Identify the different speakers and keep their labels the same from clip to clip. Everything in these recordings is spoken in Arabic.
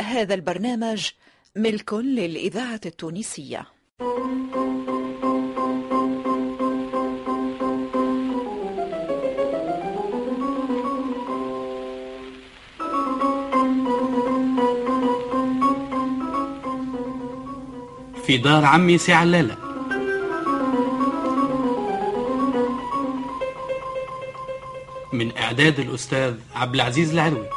Speaker 1: هذا البرنامج ملك للإذاعة التونسية
Speaker 2: في دار عمي سي علالة من إعداد الأستاذ عبد العزيز العلوي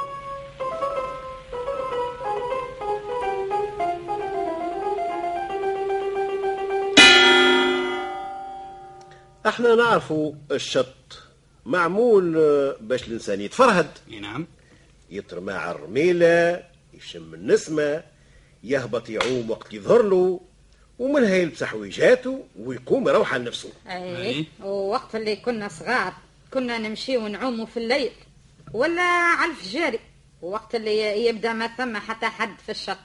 Speaker 3: احنا نعرفوا الشط معمول آه، باش الانسان يتفرهد
Speaker 2: إي نعم
Speaker 3: يترمى على الرميله يشم النسمه يهبط يعوم وقت يظهر له ومنها يلبس حويجاته ويقوم يروح على نفسه
Speaker 2: أي.
Speaker 4: اي إيه، ووقت اللي كنا صغار كنا نمشي ونعوموا في الليل ولا على الفجاري وقت اللي يبدا ما ثم حتى حد في الشط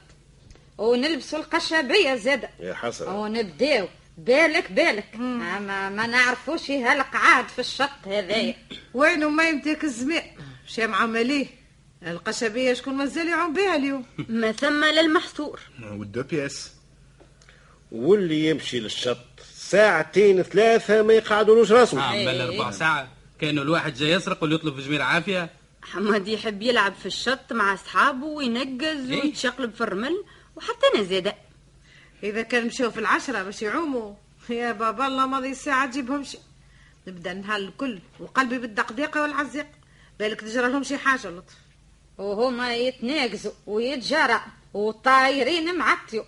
Speaker 4: ونلبسوا القشابية زادة
Speaker 3: يا حسرة
Speaker 4: ونبداو بالك بالك اما ما نعرفوش هالقعاد في الشط هذايا
Speaker 5: وينو ما يمتلك الزمان شامعة ماليه القشبية شكون مازال يعوم بها اليوم
Speaker 4: ما ثم للمحصور
Speaker 6: والدو بياس
Speaker 3: واللي يمشي للشط ساعتين ثلاثه ما يقعدولوش راسه
Speaker 2: آه بل ربع ساعة كانوا الواحد جاي يسرق واللي يطلب في جميل عافية
Speaker 7: حماد يحب يلعب في الشط مع اصحابه وينقز
Speaker 2: إيه؟
Speaker 7: ويتشقلب في الرمل وحتى انا زاده
Speaker 5: إذا كان مشيو في العشرة باش يعوموا يا بابا الله ماضي الساعة تجيبهمش نبدا النهار الكل وقلبي بالدقدقة والعزيق بالك تجرى لهم شي حاجة لطف
Speaker 4: وهما يتناقزوا ويتجارى والطايرين معطيو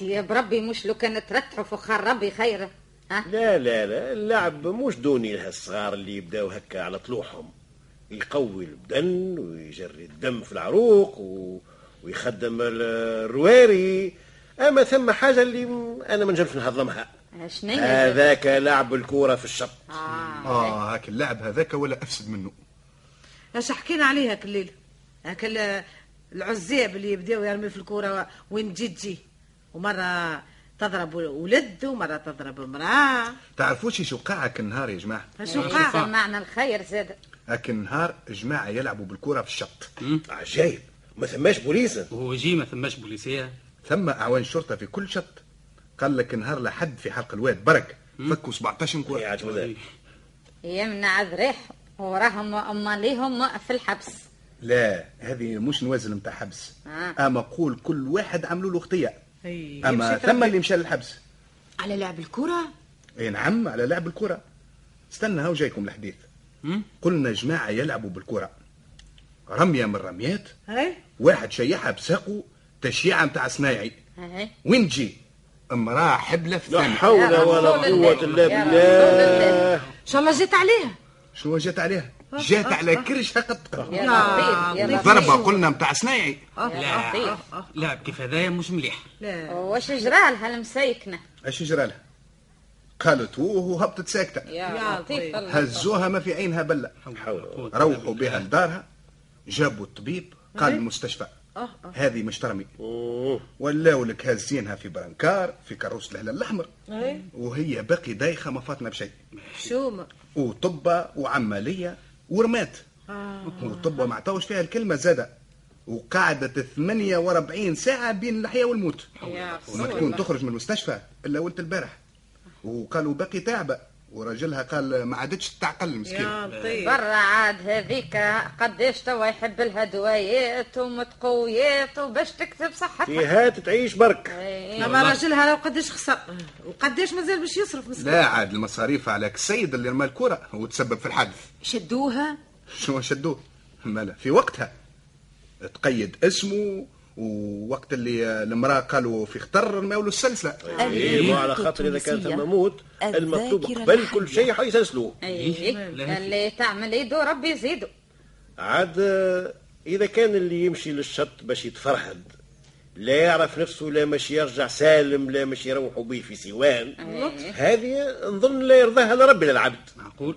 Speaker 4: يا بربي مش لو كان ترتحوا فخر ربي خيره أه؟
Speaker 3: لا لا لا اللعب مش دوني هالصغار اللي يبداو هكا على طلوعهم يقوي البدن ويجري الدم في العروق و... ويخدم ال- الرواري اما ثم حاجه اللي م- انا ما نجمش نهضمها
Speaker 4: شنيا زادة؟
Speaker 3: هذاك لعب الكوره في الشط
Speaker 6: اه هاك اللعب هذاك ولا افسد منه
Speaker 5: اش حكينا عليه هاك الليل هاك ال- العزاب اللي يبداو يرمي في الكورة وين تجي تجي ومرة تضرب ولد ومرة تضرب امرأة
Speaker 6: تعرفوش شو قاع هاك النهار يا جماعه
Speaker 5: شو
Speaker 4: إيه،
Speaker 5: قاع
Speaker 4: سمعنا الخير زاد
Speaker 6: هاك النهار جماعه يلعبوا بالكره في الشط
Speaker 3: عجايب طيب، ما ثماش بوليسه
Speaker 2: وهو جي ما ثماش بوليسية
Speaker 6: ثم اعوان شرطه في كل شط قال لك نهار لحد في حلق الواد برك فكوا 17
Speaker 3: يا
Speaker 6: كره
Speaker 3: عجب ذلك
Speaker 4: يمنع ذريح وراهم أما ليهم في الحبس
Speaker 6: لا هذه مش نوازل نتاع حبس
Speaker 4: آه.
Speaker 6: اما قول كل واحد عملوا له خطيه
Speaker 5: أي.
Speaker 6: اما
Speaker 5: يمشي
Speaker 6: ثم اللي مشى للحبس
Speaker 7: على لعب الكره
Speaker 6: اي نعم على لعب الكره استنى هاو جايكم الحديث
Speaker 2: مم.
Speaker 6: قلنا جماعه يلعبوا بالكره رميه من الرميات
Speaker 5: هاي
Speaker 6: واحد شيحها بساقه تشييعه متاع صنايعي
Speaker 4: أهي.
Speaker 6: وين تجي امراه حبله في
Speaker 3: لا
Speaker 6: الثاني
Speaker 4: يا
Speaker 3: حول ولا
Speaker 4: رسول الله،
Speaker 3: قوه الا
Speaker 4: يا رسول الله.
Speaker 3: بالله
Speaker 5: ان شاء الله جيت عليها
Speaker 6: شنو جات عليها جات على كرشها قد
Speaker 4: أه، يا
Speaker 5: لا،
Speaker 4: لطيف، يا لطيف.
Speaker 6: ضربه قلنا متاع صنايعي
Speaker 4: آه،
Speaker 2: لا لعب كيف هذايا مش مليح
Speaker 5: لا
Speaker 4: طيب. واش جرى لها المسيكنة
Speaker 6: اش جرى لها قالت ووه وهبطت ساكته
Speaker 4: يا لطيف
Speaker 5: لطيف.
Speaker 4: الله.
Speaker 6: هزوها ما في عينها بله
Speaker 3: حول
Speaker 6: روحوا بها لدارها جابوا الطبيب قال المستشفى هذه مش ترمي ولاو لك هازينها في برانكار في كروس الهلال الاحمر وهي باقي دايخه ما فاتنا بشيء
Speaker 5: شومة
Speaker 6: وطبة وعملية ورمات وطبة ما عطاوش فيها الكلمة زادة وقعدت 48 ساعة بين الحياة والموت
Speaker 4: يا
Speaker 6: وما
Speaker 4: رسول
Speaker 6: تكون
Speaker 4: الله.
Speaker 6: تخرج من المستشفى إلا ولت البارح وقالوا باقي تعبة ورجلها قال ما عادتش تعقل المسكين
Speaker 5: يا لطيف
Speaker 4: برا عاد هذيك قداش توا يحب لها دوايات ومتقويات وباش تكتب صحتها
Speaker 3: فيها تعيش برك
Speaker 4: إيه.
Speaker 5: اما راجلها لو قداش خسر وقداش مازال باش يصرف مسكين
Speaker 6: لا عاد المصاريف على السيد اللي رمى الكرة وتسبب في الحادث
Speaker 7: شدوها
Speaker 6: شنو شدوه مالا في وقتها تقيد اسمه ووقت اللي المراه قالوا في خطر رماولو السلسله
Speaker 3: إيه، وعلى خاطر اذا كان ثم موت المكتوب
Speaker 1: الذاكرة
Speaker 3: قبل
Speaker 1: الحية.
Speaker 3: كل شيء حيسلسلوه
Speaker 4: إيه.
Speaker 2: لا.
Speaker 4: اللي تعمل يدو ربي يزيدو
Speaker 3: عاد آه، اذا كان اللي يمشي للشط باش يتفرهد لا يعرف نفسه لا مش يرجع سالم لا مش يروحوا به في سيوان هذه نظن لا يرضاها لا ربي لا العبد
Speaker 2: معقول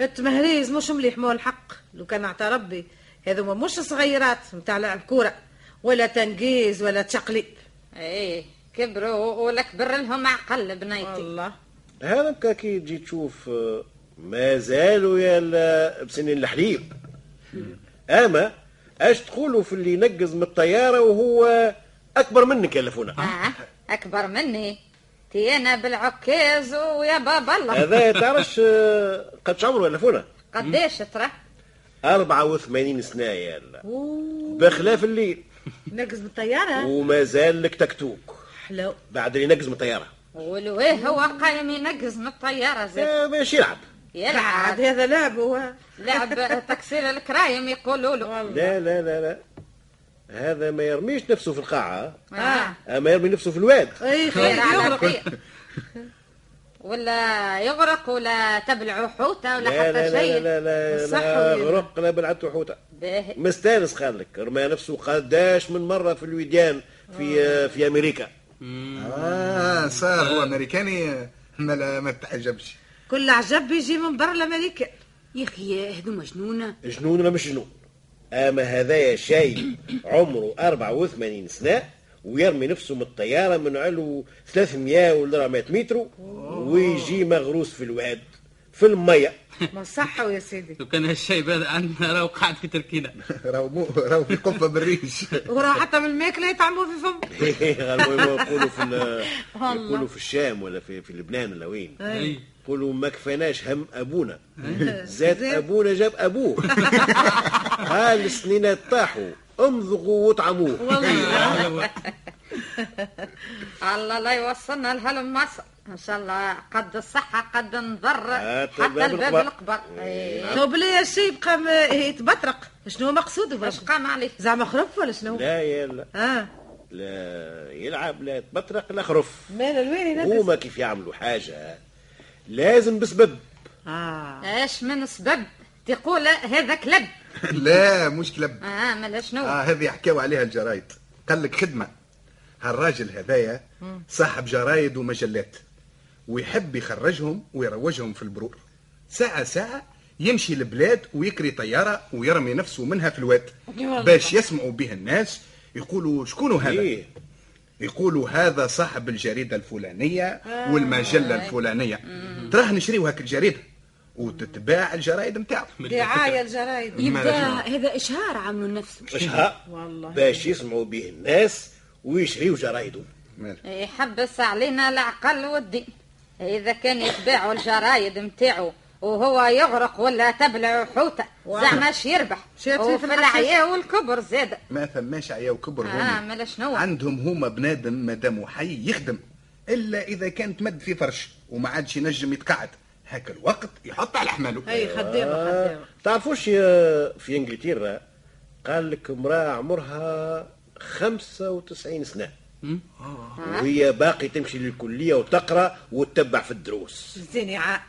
Speaker 5: التمهريز مش مليح مو الحق لو كان عطى ربي هذوما مش صغيرات متاع لعب كورة ولا تنقيز ولا تشقليب
Speaker 4: ايه كبروا ولكبر لهم عقل بنيتي
Speaker 5: الله
Speaker 3: هذا بكا كي تجي تشوف آه، ما زالوا يا ال- بسنين الحليب اما اش تقولوا في اللي ينقز من الطياره وهو اكبر منك يا لفونه
Speaker 4: آه أكبر مني تيانا بالعكاز ويا باب الله
Speaker 3: هذا تعرفش آه، قد شعمره يا لفونه
Speaker 4: قداش ترى
Speaker 3: 84 سنه يا لا بخلاف الليل
Speaker 5: نركز بالطياره
Speaker 3: ومازال لك تكتوك
Speaker 5: حلو
Speaker 3: بعد اللي نقز من الطياره
Speaker 4: والويه هو قايم ينقز من الطيارة زاد
Speaker 3: آه، باش يلعب
Speaker 5: عاد
Speaker 4: يلعب
Speaker 5: هذا لعب هو
Speaker 4: لعب تكسير الكرايم يقولوا له
Speaker 3: لا لا لا لا هذا ما يرميش نفسه في القاعه
Speaker 4: آه.
Speaker 3: اما يرمي نفسه في الواد
Speaker 5: اي إيه، خير
Speaker 4: خير على
Speaker 5: يغرق
Speaker 4: خير ولا يغرق ولا تبلع حوتة ولا
Speaker 3: لا لا
Speaker 4: حتى
Speaker 3: لا
Speaker 4: شيء يعني.
Speaker 3: لا لا
Speaker 4: صح
Speaker 3: لا
Speaker 4: ولا-
Speaker 3: غرق لا بلعته حوته
Speaker 4: باهي.
Speaker 3: مستانس قال لك رمى نفسه قداش من مره في الوديان في آه، في امريكا
Speaker 6: اه صار هو امريكاني ما لا- ما تعجبش
Speaker 5: كل عجب بيجي من برا الامريكا
Speaker 7: يا اخي هذو مجنونه
Speaker 3: جنون ولا مش جنون اما هذايا شيء عمره 84 سنه ويرمي نفسه من الطياره من علو 300 ولا 400 متر ويجي مغروس في الواد في الميه
Speaker 5: ما صحوا يا سيدي
Speaker 2: لو كان هالشيء هذا عندنا راهو قاعد في تركينا
Speaker 6: راهو مو راهو في قبه بالريش
Speaker 5: وراح حتى من الماكله يطعموه في فمه
Speaker 3: المهم يقولوا في ال- يقولوا في الشام ولا في, في لبنان ولا وين
Speaker 2: أي.
Speaker 3: يقولوا ما كفناش هم ابونا زاد ابونا جاب ابوه هالسنينات طاحوا امضغوا واطعموه
Speaker 4: الله لا يوصلنا لهلم مصر ان شاء الله قد الصحة قد نضر
Speaker 3: آه،
Speaker 4: حتى
Speaker 3: الباب
Speaker 4: الباب
Speaker 3: الأكبر.
Speaker 4: الأكبر إيه.
Speaker 5: تو بلا شيء يبقى م- يتبطرق شنو مقصوده
Speaker 4: اش
Speaker 5: باش
Speaker 4: قام عليه
Speaker 5: زعما خرف ولا شنو؟
Speaker 3: لا يا لا
Speaker 5: اه
Speaker 3: لا يلعب لا يتبطرق لا خرف
Speaker 5: مال الوين ينقص
Speaker 3: هما كيف يعملوا حاجه لازم بسبب
Speaker 5: اه
Speaker 4: اش من سبب تقول هذا كلب
Speaker 6: لا مش كلب
Speaker 4: اه ملا
Speaker 3: آه،
Speaker 4: شنو
Speaker 6: اه هذه حكاوا عليها الجرايد قال لك خدمه هالراجل هذايا صاحب جرايد ومجلات ويحب يخرجهم ويروجهم في البرور ساعة ساعة يمشي البلاد ويكري طيارة ويرمي نفسه منها في الواد باش يسمعوا به الناس يقولوا شكون هذا
Speaker 3: إيه.
Speaker 6: يقولوا هذا صاحب الجريدة الفلانية والمجلة الفلانية تراه نشريو هاك الجريدة وتتباع الجرايد نتاعو
Speaker 5: دعايه الجرايد
Speaker 7: يبدا هذا اشهار عامله لنفسه
Speaker 3: اشها باش يسمعوا به الناس ويشريوا جرايده
Speaker 4: يحبس علينا العقل والدين اذا كان يتباعوا الجرايد متاعو وهو يغرق ولا تبلع حوته زعما اش يربح
Speaker 5: شاف في
Speaker 4: وفي
Speaker 5: الحشيش.
Speaker 4: العيا والكبر زاد
Speaker 6: ما ثماش عيا وكبر
Speaker 4: اه
Speaker 6: هوني.
Speaker 4: ملا شنو
Speaker 6: عندهم هما بنادم مادام حي يخدم الا اذا كان تمد في فرش وما عادش ينجم يتقعد هاك الوقت يحط على حماله
Speaker 5: اي خدامه خدامه
Speaker 3: تعرفوش يا- في انجلترا قال لك امراه عمرها 95 سنه وهي باقي تمشي للكليه وتقرا وتتبع في الدروس
Speaker 5: زين عاد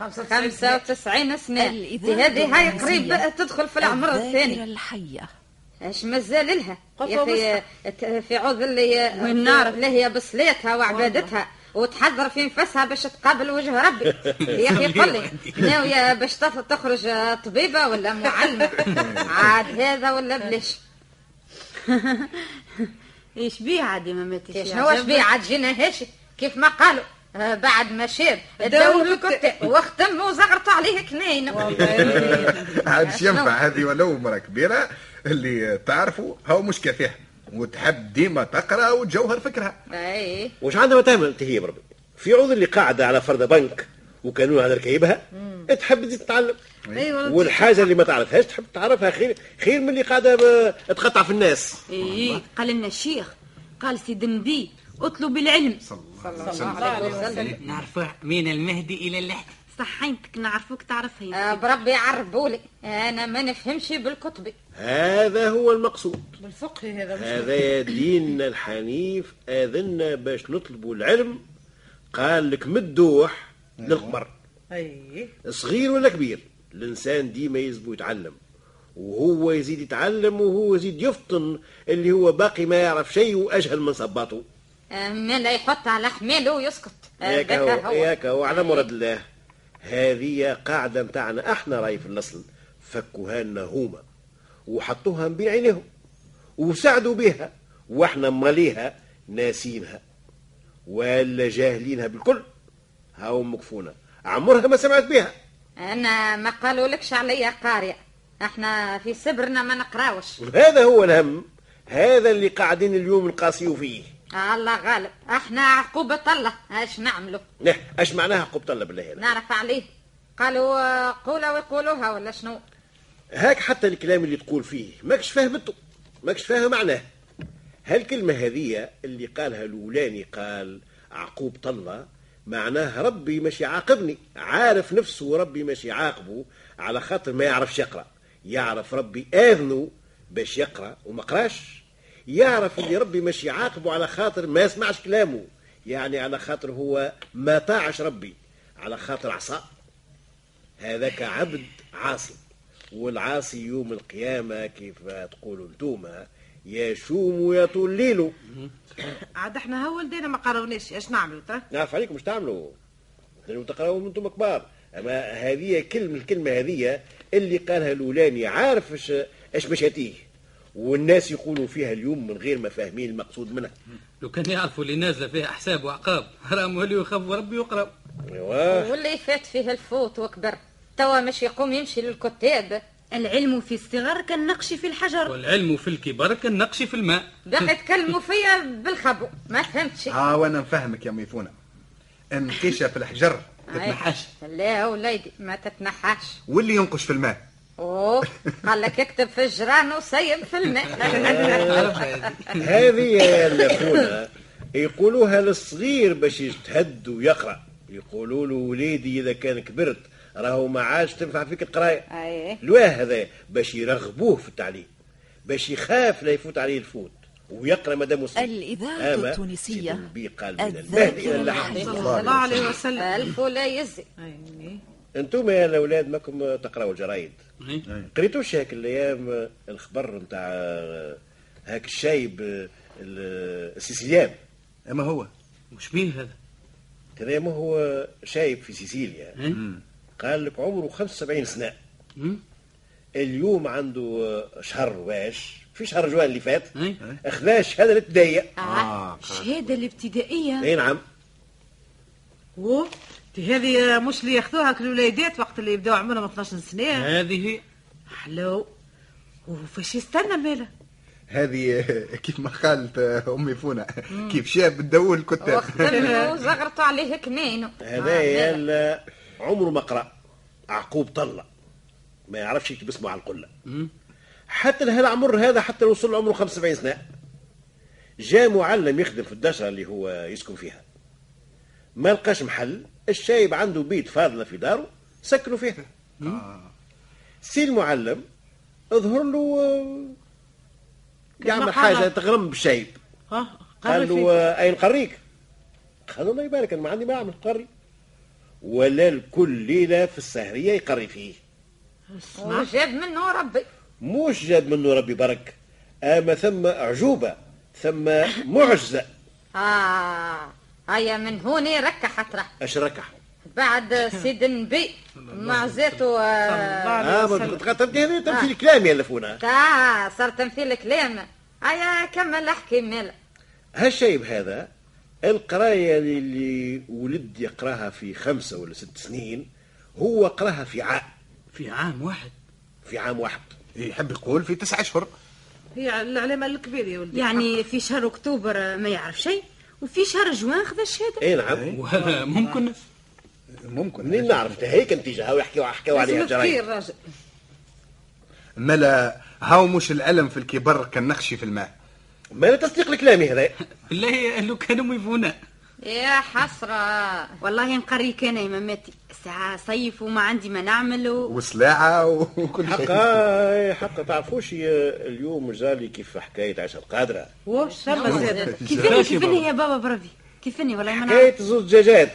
Speaker 5: خمسة
Speaker 4: خمسة وتسعين سنة
Speaker 1: الإذاعة
Speaker 4: دي هذه هاي
Speaker 1: التونسية.
Speaker 4: قريب تدخل في العمر
Speaker 1: الذاكرة
Speaker 4: الثاني
Speaker 1: الحية
Speaker 4: اش مازال لها
Speaker 5: قطوة
Speaker 4: يا اخي ت- في عوض اللي
Speaker 7: والنار.
Speaker 4: اللي هي بصليتها وعبادتها وتحذر في نفسها باش تقابل وجه ربي يا اخي قل لي ناويه باش تخ- تخرج آه، طبيبه ولا معلمه عاد هذا ولا بلاش
Speaker 7: ايش بيه عادي ما ماتش
Speaker 4: شنو هو شبيه عاد جينا هاشي كيف ما قالوا آه، بعد ما شاب داو الكتة وختم وزغرطوا عليه كناين
Speaker 6: عادش ينفع هذه ولو مرة كبيرة اللي تعرفوا هو مش كافيها وتحب ديما تقرا وتجوهر فكرها
Speaker 4: اي
Speaker 3: وش عندها ما تعمل انت هي بربي في عوض اللي قاعده على فرد بنك وكانون على ركيبها تحب تزيد تتعلم
Speaker 5: أي والله.
Speaker 3: والحاجه اللي ما تعرفهاش تحب تعرفها خير خير من اللي قاعده ب- تقطع في الناس
Speaker 7: ايه قال لنا الشيخ قال سيد النبي اطلب العلم
Speaker 2: نعرفه من المهدي الى اللحد
Speaker 7: صحينتك نعرفوك تعرفها يا
Speaker 4: آه، بربي عربولي انا ما نفهمش بالكتب
Speaker 3: هذا هو المقصود
Speaker 5: بالفقه هذا مش
Speaker 3: هذا ديننا الحنيف اذنا باش نطلبوا العلم قال لك مدوح للقمر
Speaker 5: اي
Speaker 3: صغير ولا كبير الانسان ديما يلزمو يتعلم وهو يزيد يتعلم وهو يزيد يفطن اللي هو باقي ما يعرف شيء واجهل من صباطه
Speaker 4: من آه، لا يحط على حماله ويسكت آه،
Speaker 3: ياك هو ياك هو على مراد الله هذه قاعده متاعنا احنا راي في الاصل فكوها لنا هما وحطوها بين عينيهم وساعدوا بها واحنا ماليها ناسينها ولا جاهلينها بالكل هاو مكفونا عمرها ما سمعت بها
Speaker 4: انا ما قالوا لكش عليا قارئ احنا في سبرنا ما نقراوش
Speaker 3: هذا هو الهم هذا اللي قاعدين اليوم نقاسيو فيه
Speaker 4: آه، الله غالب احنا عقوبة الله اش نعملو
Speaker 3: نه اش معناها قبطله بالله هنا
Speaker 4: نعرف عليه قالوا آه، قولا ويقولوها ولا شنو
Speaker 3: هاك حتى الكلام اللي تقول فيه ماكش فاهمته ماكش فاهم معناه هالكلمة هذية اللي قالها الولاني قال عقوب طلة معناه ربي مش يعاقبني عارف نفسه ربي مش يعاقبه على خاطر ما يعرفش يقرأ يعرف ربي آذنه باش يقرأ وما قراش يعرف اللي ربي مش يعاقبه على خاطر ما يسمعش كلامه يعني على خاطر هو ما طاعش ربي على خاطر عصاه هذاك عبد عاصي والعاصي يوم القيامة كيف تقولوا انتوما يشوم يطول ليله
Speaker 5: عاد احنا هو لدينا ما قراوناش اش نعملوا ترى
Speaker 3: نعرف عليكم مش تعملوا لأنه تقراوا انتم كبار أما هذه كلمة الكلمة هذه اللي قالها الأولاني عارف اش اش مشاتيه والناس يقولوا فيها اليوم من غير ما فاهمين المقصود منها
Speaker 2: لو كان يعرفوا اللي نازله فيها احساب وعقاب راهم وليو يخافوا ربي ويقراوا
Speaker 3: ايوه
Speaker 4: واللي فات فيه الفوت وكبر توا مش يقوم يمشي للكتاب
Speaker 7: العلم في الصغر كالنقش في الحجر
Speaker 2: والعلم في الكبر كالنقش في الماء
Speaker 4: بقى يتكلموا فيا بالخبو ما فهمتش
Speaker 5: آه،
Speaker 6: ها وانا نفهمك يا ميفونه النقيشه في الحجر
Speaker 2: تتنحش.
Speaker 4: لا وليدي ما تتنحاش
Speaker 6: واللي ينقش في الماء
Speaker 4: اوه قال لك اكتب في الجران وسيب في الماء
Speaker 2: عارفها هذه.
Speaker 3: هذه يا الأخونا يقولوها للصغير باش يجتهد ويقرا يقولوا له وليدي اذا كان كبرت راهو ما عادش تنفع فيك القرايه
Speaker 4: أيه.
Speaker 3: لواه هذا باش يرغبوه في التعليم باش يخاف لا يفوت عليه الفوت ويقرا مادام مسلم
Speaker 1: الإذاعة
Speaker 3: أما
Speaker 1: التونسية.
Speaker 3: سيدنا النبي قال من المهد
Speaker 1: الذاكرة
Speaker 3: الى اللحم
Speaker 1: العظيمة.
Speaker 5: صلى الله عليه وسلم
Speaker 4: الف ولا يزي
Speaker 5: أيني.
Speaker 3: انتم يا الاولاد ماكم تقراوا الجرايد
Speaker 2: إيه.
Speaker 3: قريتوش هاك الايام الخبر نتاع هاك الشايب ال- السيسيليان
Speaker 6: اما هو
Speaker 2: وش بيه هذا
Speaker 3: هذا ما هو شايب في سيسيليا
Speaker 2: إيه؟
Speaker 3: قال لك عمره 75 سنه
Speaker 2: مم.
Speaker 3: اليوم عنده شهر واش في شهر جوان اللي فات
Speaker 2: إيه.
Speaker 3: اخذا الشهاده الابتدائيه
Speaker 5: آه.
Speaker 6: اه
Speaker 7: الشهادة
Speaker 4: آه.
Speaker 7: الابتدائية
Speaker 3: اي نعم
Speaker 5: و دي هذه مش اللي ياخذوها الوليدات وقت اللي يبداو عمرهم 12 سنه
Speaker 2: هذه
Speaker 5: حلو وفاش يستنى ماله
Speaker 6: هذه كيف ما قالت امي فونا كيف شاب تدور الكتاب
Speaker 4: وختموا وزغرطوا عليه كمينو آه،
Speaker 3: هذا يا ال- عمره ما قرا عقوب طلة ما يعرفش يكتب اسمه على القله حتى العمر هذا حتى لو وصل عمره 75 سنه جاء معلم يخدم في الدشره اللي هو يسكن فيها ما لقاش محل الشايب عنده بيت فاضله في داره سكنوا فيها سي المعلم ظهر له آه، يعمل
Speaker 5: قال.
Speaker 3: حاجه تغرم بالشايب
Speaker 5: ها
Speaker 3: قال
Speaker 5: قال
Speaker 3: له
Speaker 5: له
Speaker 3: آه، اين قريك؟ قال الله يبارك انا ما عندي ما اعمل قري ولا الكل ليله في السهريه يقري فيه
Speaker 4: وجاب منه ربي
Speaker 3: مش جاب منه ربي برك اما ثم اعجوبه ثم معجزه
Speaker 4: اه هيا من هوني ركحت راه
Speaker 3: اشركح
Speaker 4: بعد سيد النبي مع زيتو آه،
Speaker 3: اه ما تبقى تبدي هذا تمثيل كلامي يا لفونا
Speaker 4: تاع صار تمثيل كلام هيا كمل احكي مالا
Speaker 3: هالشيب هذا القرايه اللي- اللي ولد يقراها في خمسه ولا ست سنين هو قراها في عام
Speaker 2: في عام واحد
Speaker 3: في عام واحد
Speaker 6: يحب يقول في تسعة اشهر
Speaker 5: هي العلامه الكبيره يا ولدي
Speaker 7: يعني في شهر أكتوبر ما يعرف شيء وفي شهر جوان خذ الشهادة
Speaker 3: اي نعم
Speaker 2: وهذا ممكن
Speaker 3: منين
Speaker 6: ممكن
Speaker 3: نعرف تا هيك نتيجه هاو يحكيوا حكاوا عليها
Speaker 5: لازم
Speaker 3: الجرايد
Speaker 5: تفكير راجل
Speaker 6: ملا هاو مش الألم في الكبر كالنقش في الماء
Speaker 3: ما لا تصديق لكلامي هذا
Speaker 2: بالله لو كانوا يفونا
Speaker 4: يا حسرة
Speaker 7: والله نقريك أنا يا مماتي ساعة صيف وما عندي ما نعمل و...
Speaker 6: وسلاعة وكل شيء
Speaker 3: حقا حقا تعرفوش ي- اليوم جرالي كيف حكاية عشر القادرة
Speaker 5: و
Speaker 4: نعم.
Speaker 5: ثم زاد
Speaker 7: كيفني كيفني يا بابا بربي كيفني والله ما نعرف
Speaker 3: حكاية زوز دجاجات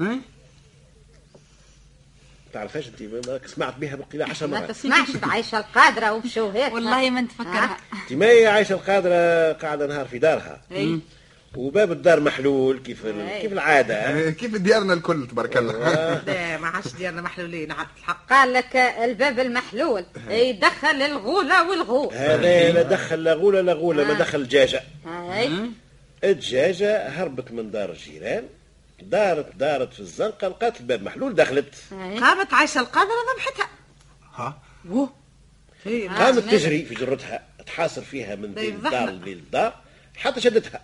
Speaker 2: إيه؟
Speaker 3: تعرفهاش انت ما- ما سمعت بها بالقلة عشر
Speaker 4: ما
Speaker 3: مرات
Speaker 4: تسمعش بعيشة القادرة آه. وبشوهات
Speaker 7: والله ما نتفكرها
Speaker 3: انت ما هي عايشة القادرة قاعدة نهار في دارها
Speaker 4: إيه.
Speaker 3: وباب الدار محلول كيف ال- كيف العادة
Speaker 6: كيف ديارنا الكل تبارك الله
Speaker 5: لا ما عادش ديالنا محلولين عاد الحق
Speaker 4: قال لك الباب المحلول يدخل الغولة والغول
Speaker 3: هذا لا دخل لا غولة لا غولة ما دخل دجاجة
Speaker 4: هاي
Speaker 3: الدجاجة هربت من دار الجيران دارت دارت في الزنقة
Speaker 4: إيه.
Speaker 3: لقات الباب محلول دخلت
Speaker 5: قامت عايشه القادره ذبحتها
Speaker 6: ها
Speaker 5: و هي
Speaker 3: قامت
Speaker 4: ماشي.
Speaker 3: تجري في جرتها تحاصر فيها من
Speaker 5: آه، طيب
Speaker 3: بين
Speaker 5: زحمة.
Speaker 3: دار للدار حتى شدتها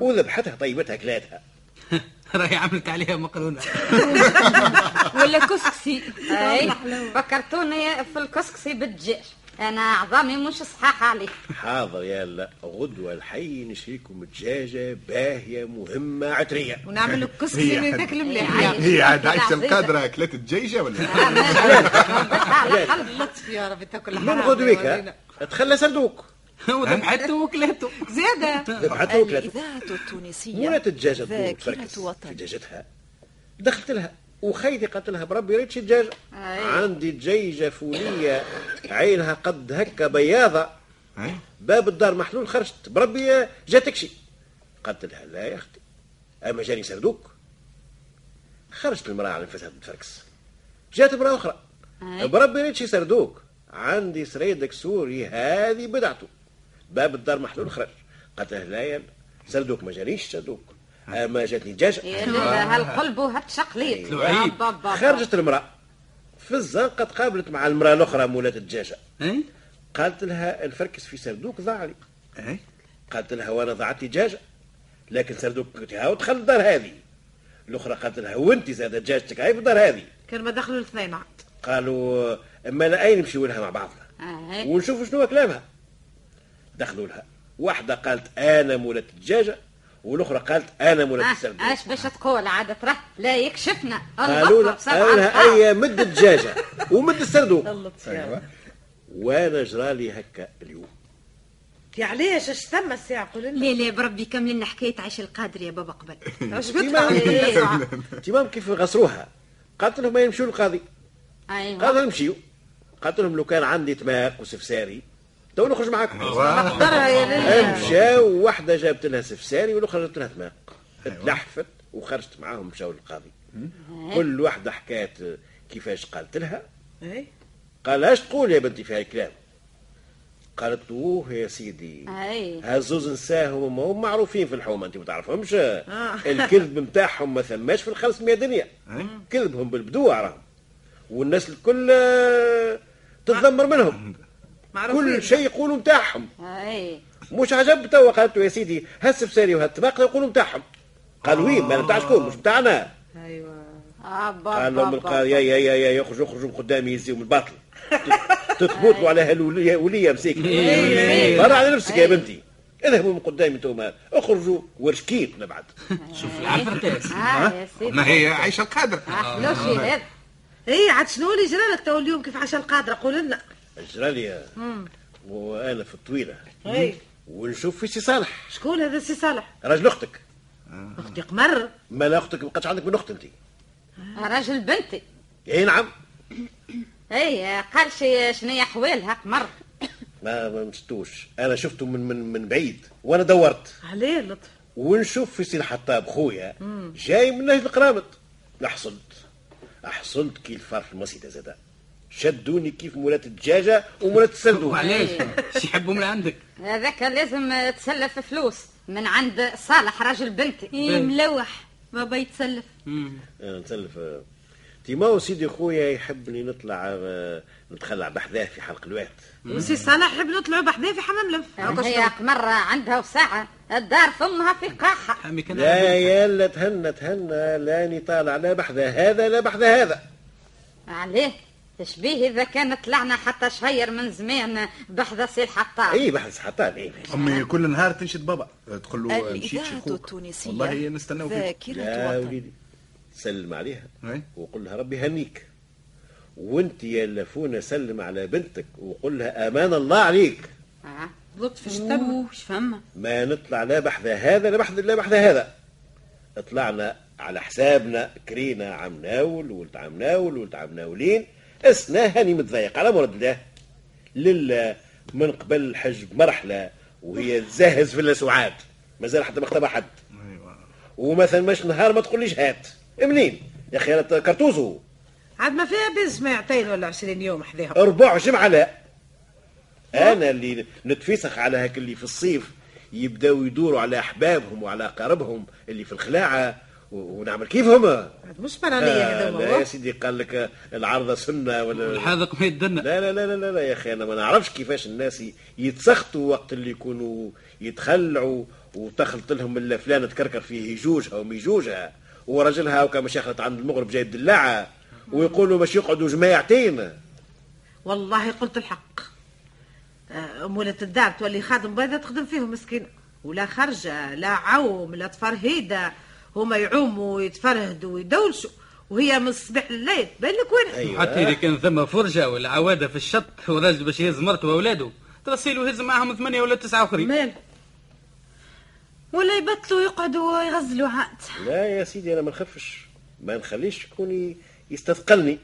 Speaker 3: وذبحتها طيبتها كلاتها
Speaker 2: راهي عملت عليها مقرونه
Speaker 7: ولا كسكسي
Speaker 4: اي إيه. فكرتوني في الكسكسي بالدجاج انا عظامي مش صحاح عليه
Speaker 3: حاضر يلا غدوة الحي نشريكم دجاجة باهية مهمة عطرية
Speaker 5: ونعمل لك كسكسي
Speaker 6: هي
Speaker 5: من
Speaker 6: حد-
Speaker 5: ذاك المليح
Speaker 4: هي
Speaker 5: يعني.
Speaker 6: هي عاد عايشه
Speaker 4: العزيزة.
Speaker 6: القادره اكلت الجيشه ولا
Speaker 4: ربيتها على قلبي
Speaker 5: لطف يا ربي تاكل
Speaker 3: من غدوك تخلى صندوق
Speaker 2: وذبحته وكلته
Speaker 5: زيادة
Speaker 3: ذبحتها وكلاتها
Speaker 1: الإذاعة التونسية
Speaker 3: ولات الدجاجة تدور
Speaker 1: ذاكرة
Speaker 3: تركز في
Speaker 1: وطن
Speaker 3: دجاجتها دخلت لها وخيتي قالت لها بربي ريتش دجاجة عندي دجاجة فولية عينها قد هكا بياضة
Speaker 6: أي.
Speaker 3: باب الدار محلول خرجت بربي جاتك شي قالت لها لا يا اختي اما جاني سردوك خرجت المراه على نفسها تفركس جات امراه اخرى بربي ريتشي سردوك عندي سريدك سوري هذه بدعته باب الدار محلول خرج قالت لها لا يا سردوك ما جانيش سردوك اما جاتني
Speaker 4: يا
Speaker 3: دجاجه
Speaker 4: ليلى إيه، هالقلب وهالتشقليط
Speaker 2: لعيب.
Speaker 4: أبا أبا أبا.
Speaker 3: خرجت المراه في الزنقه تقابلت مع المراه الاخرى مولات الدجاجه
Speaker 2: اي
Speaker 3: قالت لها الفركس في سردوك ضاع لي
Speaker 6: أي.
Speaker 3: قالت لها وانا ضاعت لي دجاجه لكن سردوك قلتها ودخل الدار هذه الاخرى قالت لها وانت زاد دجاجتك هاي في الدار هذه
Speaker 5: كان ما دخلوا الاثنين عاد
Speaker 3: قالوا اما لا اين نمشيو لها مع بعضنا
Speaker 4: أي.
Speaker 3: ونشوفوا شنو كلامها دخلوا لها واحده قالت انا مولات الدجاجه والاخرى قالت انا
Speaker 4: أه،
Speaker 3: مولات السردوك
Speaker 4: اش آه. باش تقول عاد ترى لا يكشفنا
Speaker 3: قالوا أيوه، لها قالوا لها
Speaker 4: أه.
Speaker 3: اي مد الدجاجه ومد السردوك
Speaker 5: لطف يا
Speaker 6: ايوه
Speaker 5: ربي
Speaker 3: وانا جرالي هكا اليوم
Speaker 5: يا علاش اش ثم الساعة قول لنا
Speaker 7: لا لا بربي كملنا حكاية عيش القادر يا بابا قبل
Speaker 5: اش
Speaker 3: ديما-
Speaker 5: بتقول
Speaker 3: تمام كيف غسروها قالت لهم ما يمشيو للقاضي
Speaker 4: ايوه
Speaker 3: قال لهم مشيو قالت لهم لو كان عندي تماق وسفساري تو نخرج معاكم
Speaker 6: واه.
Speaker 5: إيه،
Speaker 3: مشاو وحده جابت لها سفساري والاخرى جابت لها تماق تلحفت وخرجت معاهم مشاو للقاضي كل وحده حكات كيفاش قالت لها
Speaker 5: إيه.
Speaker 3: قال اش تقول يا بنتي في هالكلام قالت له اوه يا سيدي
Speaker 4: أي.
Speaker 3: هالزوز نساهم ما هم معروفين في الحومه انت ما تعرفهمش الكذب نتاعهم ما ثماش في ال 500 دنيا كذبهم بالبدوع راهم والناس الكل آه، تتذمر منهم كل شيء يقولوا نتاعهم
Speaker 4: اي
Speaker 3: مش عجب توا قالت له يا سيدي هالسفساري وهالتباق يقولوا نتاعهم قال وين ما نتاع شكون مش بتاعنا
Speaker 5: ايوه
Speaker 4: ابا
Speaker 3: قال لهم
Speaker 4: أبا.
Speaker 3: القاضي يا يا يا يا يخرجوا يخرجوا من قدامي يزيوا من الباطل تثبتوا على هالولية ولية مساكين برا على نفسك يا بنتي اذهبوا من قدامي انتم اخرجوا ورشكين نبعد
Speaker 2: شوف العفرة تاس
Speaker 4: آه يا سيدي آه،
Speaker 6: ما هي عيشه القادر آه.
Speaker 4: حلوشي هذا
Speaker 5: اي إيه، عاد شنو اللي جرالك تو اليوم كيف عشا القادرة قول لنا
Speaker 3: اجرالي وانا في الطويله
Speaker 5: اي
Speaker 3: ونشوف في سي صالح
Speaker 5: شكون هذا السي صالح
Speaker 3: راجل اختك
Speaker 5: اختي قمر
Speaker 3: ما لا اختك ما بقتش عندك من اخت انت
Speaker 4: راجل بنتي
Speaker 3: اي نعم
Speaker 4: اي قال شي شنو احوالها قمر
Speaker 3: ما ما مشتوش انا شفته من من من بعيد وانا دورت
Speaker 5: عليه لطف
Speaker 3: ونشوف في سي الحطاب خويا جاي من نهج القرامط احصلت احصلت كي الفار في المصيدة زادا شدوني كيف مولات الدجاجة ومولات السندوق
Speaker 2: وعلاش شي يحبوا من عندك
Speaker 4: هذاك لازم تسلف فلوس من عند صالح راجل بنتي
Speaker 7: ايه ملوح بابا يتسلف
Speaker 3: أنا نسلف آه. تيماو سيدي خويا يحبني نطلع آه، نتخلع بحذاه في حلق الواد
Speaker 5: وسي صالح يحب نطلعوا بحذاه في حمام لف هاكا
Speaker 4: هي
Speaker 5: شنو
Speaker 4: قمر عندها وساعة الدار فمها في قاحة
Speaker 2: حمي كان
Speaker 3: لا
Speaker 2: عندك.
Speaker 3: يلا تهنى تهنى لاني طالع لا بحذا هذا لا بحذا هذا
Speaker 4: عليه تشبيه اذا كان طلعنا حتى شهير من زمان بحذا سي الحطاب
Speaker 7: إيه.
Speaker 3: اي بحث حطان اي
Speaker 6: امي كل نهار تنشد بابا تقول له مشيت شي
Speaker 1: الإذاعة
Speaker 6: خوك
Speaker 1: التونسية
Speaker 6: والله نستناو فيك
Speaker 1: ذاكرة
Speaker 3: يا
Speaker 1: وطن
Speaker 3: وليدي سلم عليها
Speaker 6: أي.
Speaker 3: وقول لها ربي هنيك وانت يا لفونة سلم على بنتك وقول لها امان الله عليك
Speaker 4: آه.
Speaker 5: لطف اش تم
Speaker 7: اوه اش فما
Speaker 3: ما نطلع لا بحذا هذا لا بحذا لا بحذا هذا طلعنا على حسابنا كرينا عم ناول ولد عم ناول ولد عم ناولين اسنا هاني متضايق على مرد الله لله من قبل الحج بمرحله وهي تزهز في اللسعاد مازال حتى ما اختبى حد ومثلا مش نهار ما تقوليش هات منين يا اخي أنا كرتوزو
Speaker 5: عاد ما فيها بين سماعتين ولا 20 يوم حذاهم
Speaker 3: ربع جمعة لا أنا اللي نتفسخ على هاك اللي في الصيف يبداو يدوروا على أحبابهم وعلى أقاربهم اللي في الخلاعة و- ونعمل كيفهم آه،
Speaker 5: هاد مش برانية هذا
Speaker 3: لا
Speaker 5: هو
Speaker 3: يا سيدي قال لك العارضه سنه ولا
Speaker 2: الحاذق ما يدنا
Speaker 3: لا لا لا لا لا يا اخي انا ما نعرفش كيفاش الناس ي- يتسخطوا وقت اللي يكونوا يتخلعوا وتخلط لهم الا فلانه تكركر فيه جوجها ومي جوجها ورجلها هكا مش يخلط عند المغرب جاي الدلاعه ويقولوا باش يقعدوا جماعتين
Speaker 5: والله قلت الحق آه، مولة الدار تولي خادم بيضة تخدم فيهم مسكين ولا خرجة لا عوم لا تفرهيدة هما يعوموا ويتفرهدوا ويدولشوا وهي من الصبح لليل بين لك وين
Speaker 3: أيوة.
Speaker 2: حتى اذا كان ثم فرجه ولا عواده في الشط وراجل باش يهز مرته واولاده ترسيلو يهز معاهم ثمانيه ولا تسعه اخرين
Speaker 5: مال
Speaker 7: ولا يبطلوا يقعدوا يغزلوا عاد
Speaker 3: لا يا سيدي انا ما نخافش ما نخليش شكون ي- يستثقلني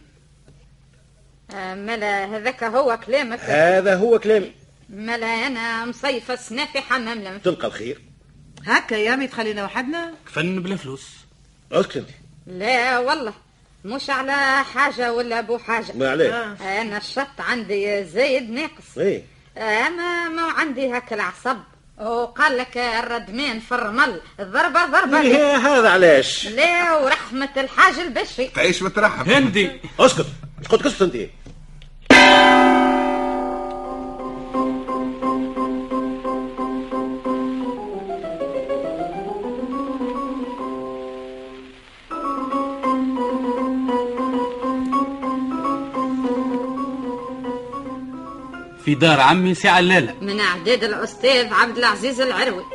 Speaker 4: آه، ملا هذاك هو كلامك
Speaker 3: هذا هو كلامي
Speaker 4: ملا انا مصيفه سنا في حمام لم
Speaker 3: تلقى الخير
Speaker 5: هكا يا مي تخلينا وحدنا
Speaker 2: كفن بلا فلوس
Speaker 3: اسكت انت
Speaker 4: لا والله مش على حاجه ولا ابو حاجه
Speaker 3: ما عليك
Speaker 5: آه.
Speaker 4: انا الشط عندي زايد ناقص
Speaker 3: ايه
Speaker 4: انا ما عندي هاك العصب وقال لك الردمان في الرمل ضربه ضربه
Speaker 3: إيه، هذا علاش
Speaker 4: لا ورحمه الحاج البشري
Speaker 6: تعيش وترحم
Speaker 2: هندي
Speaker 3: اسكت اسكت قصت انت
Speaker 2: في دار عمي سي علاله
Speaker 4: من اعداد الاستاذ عبد العزيز العروي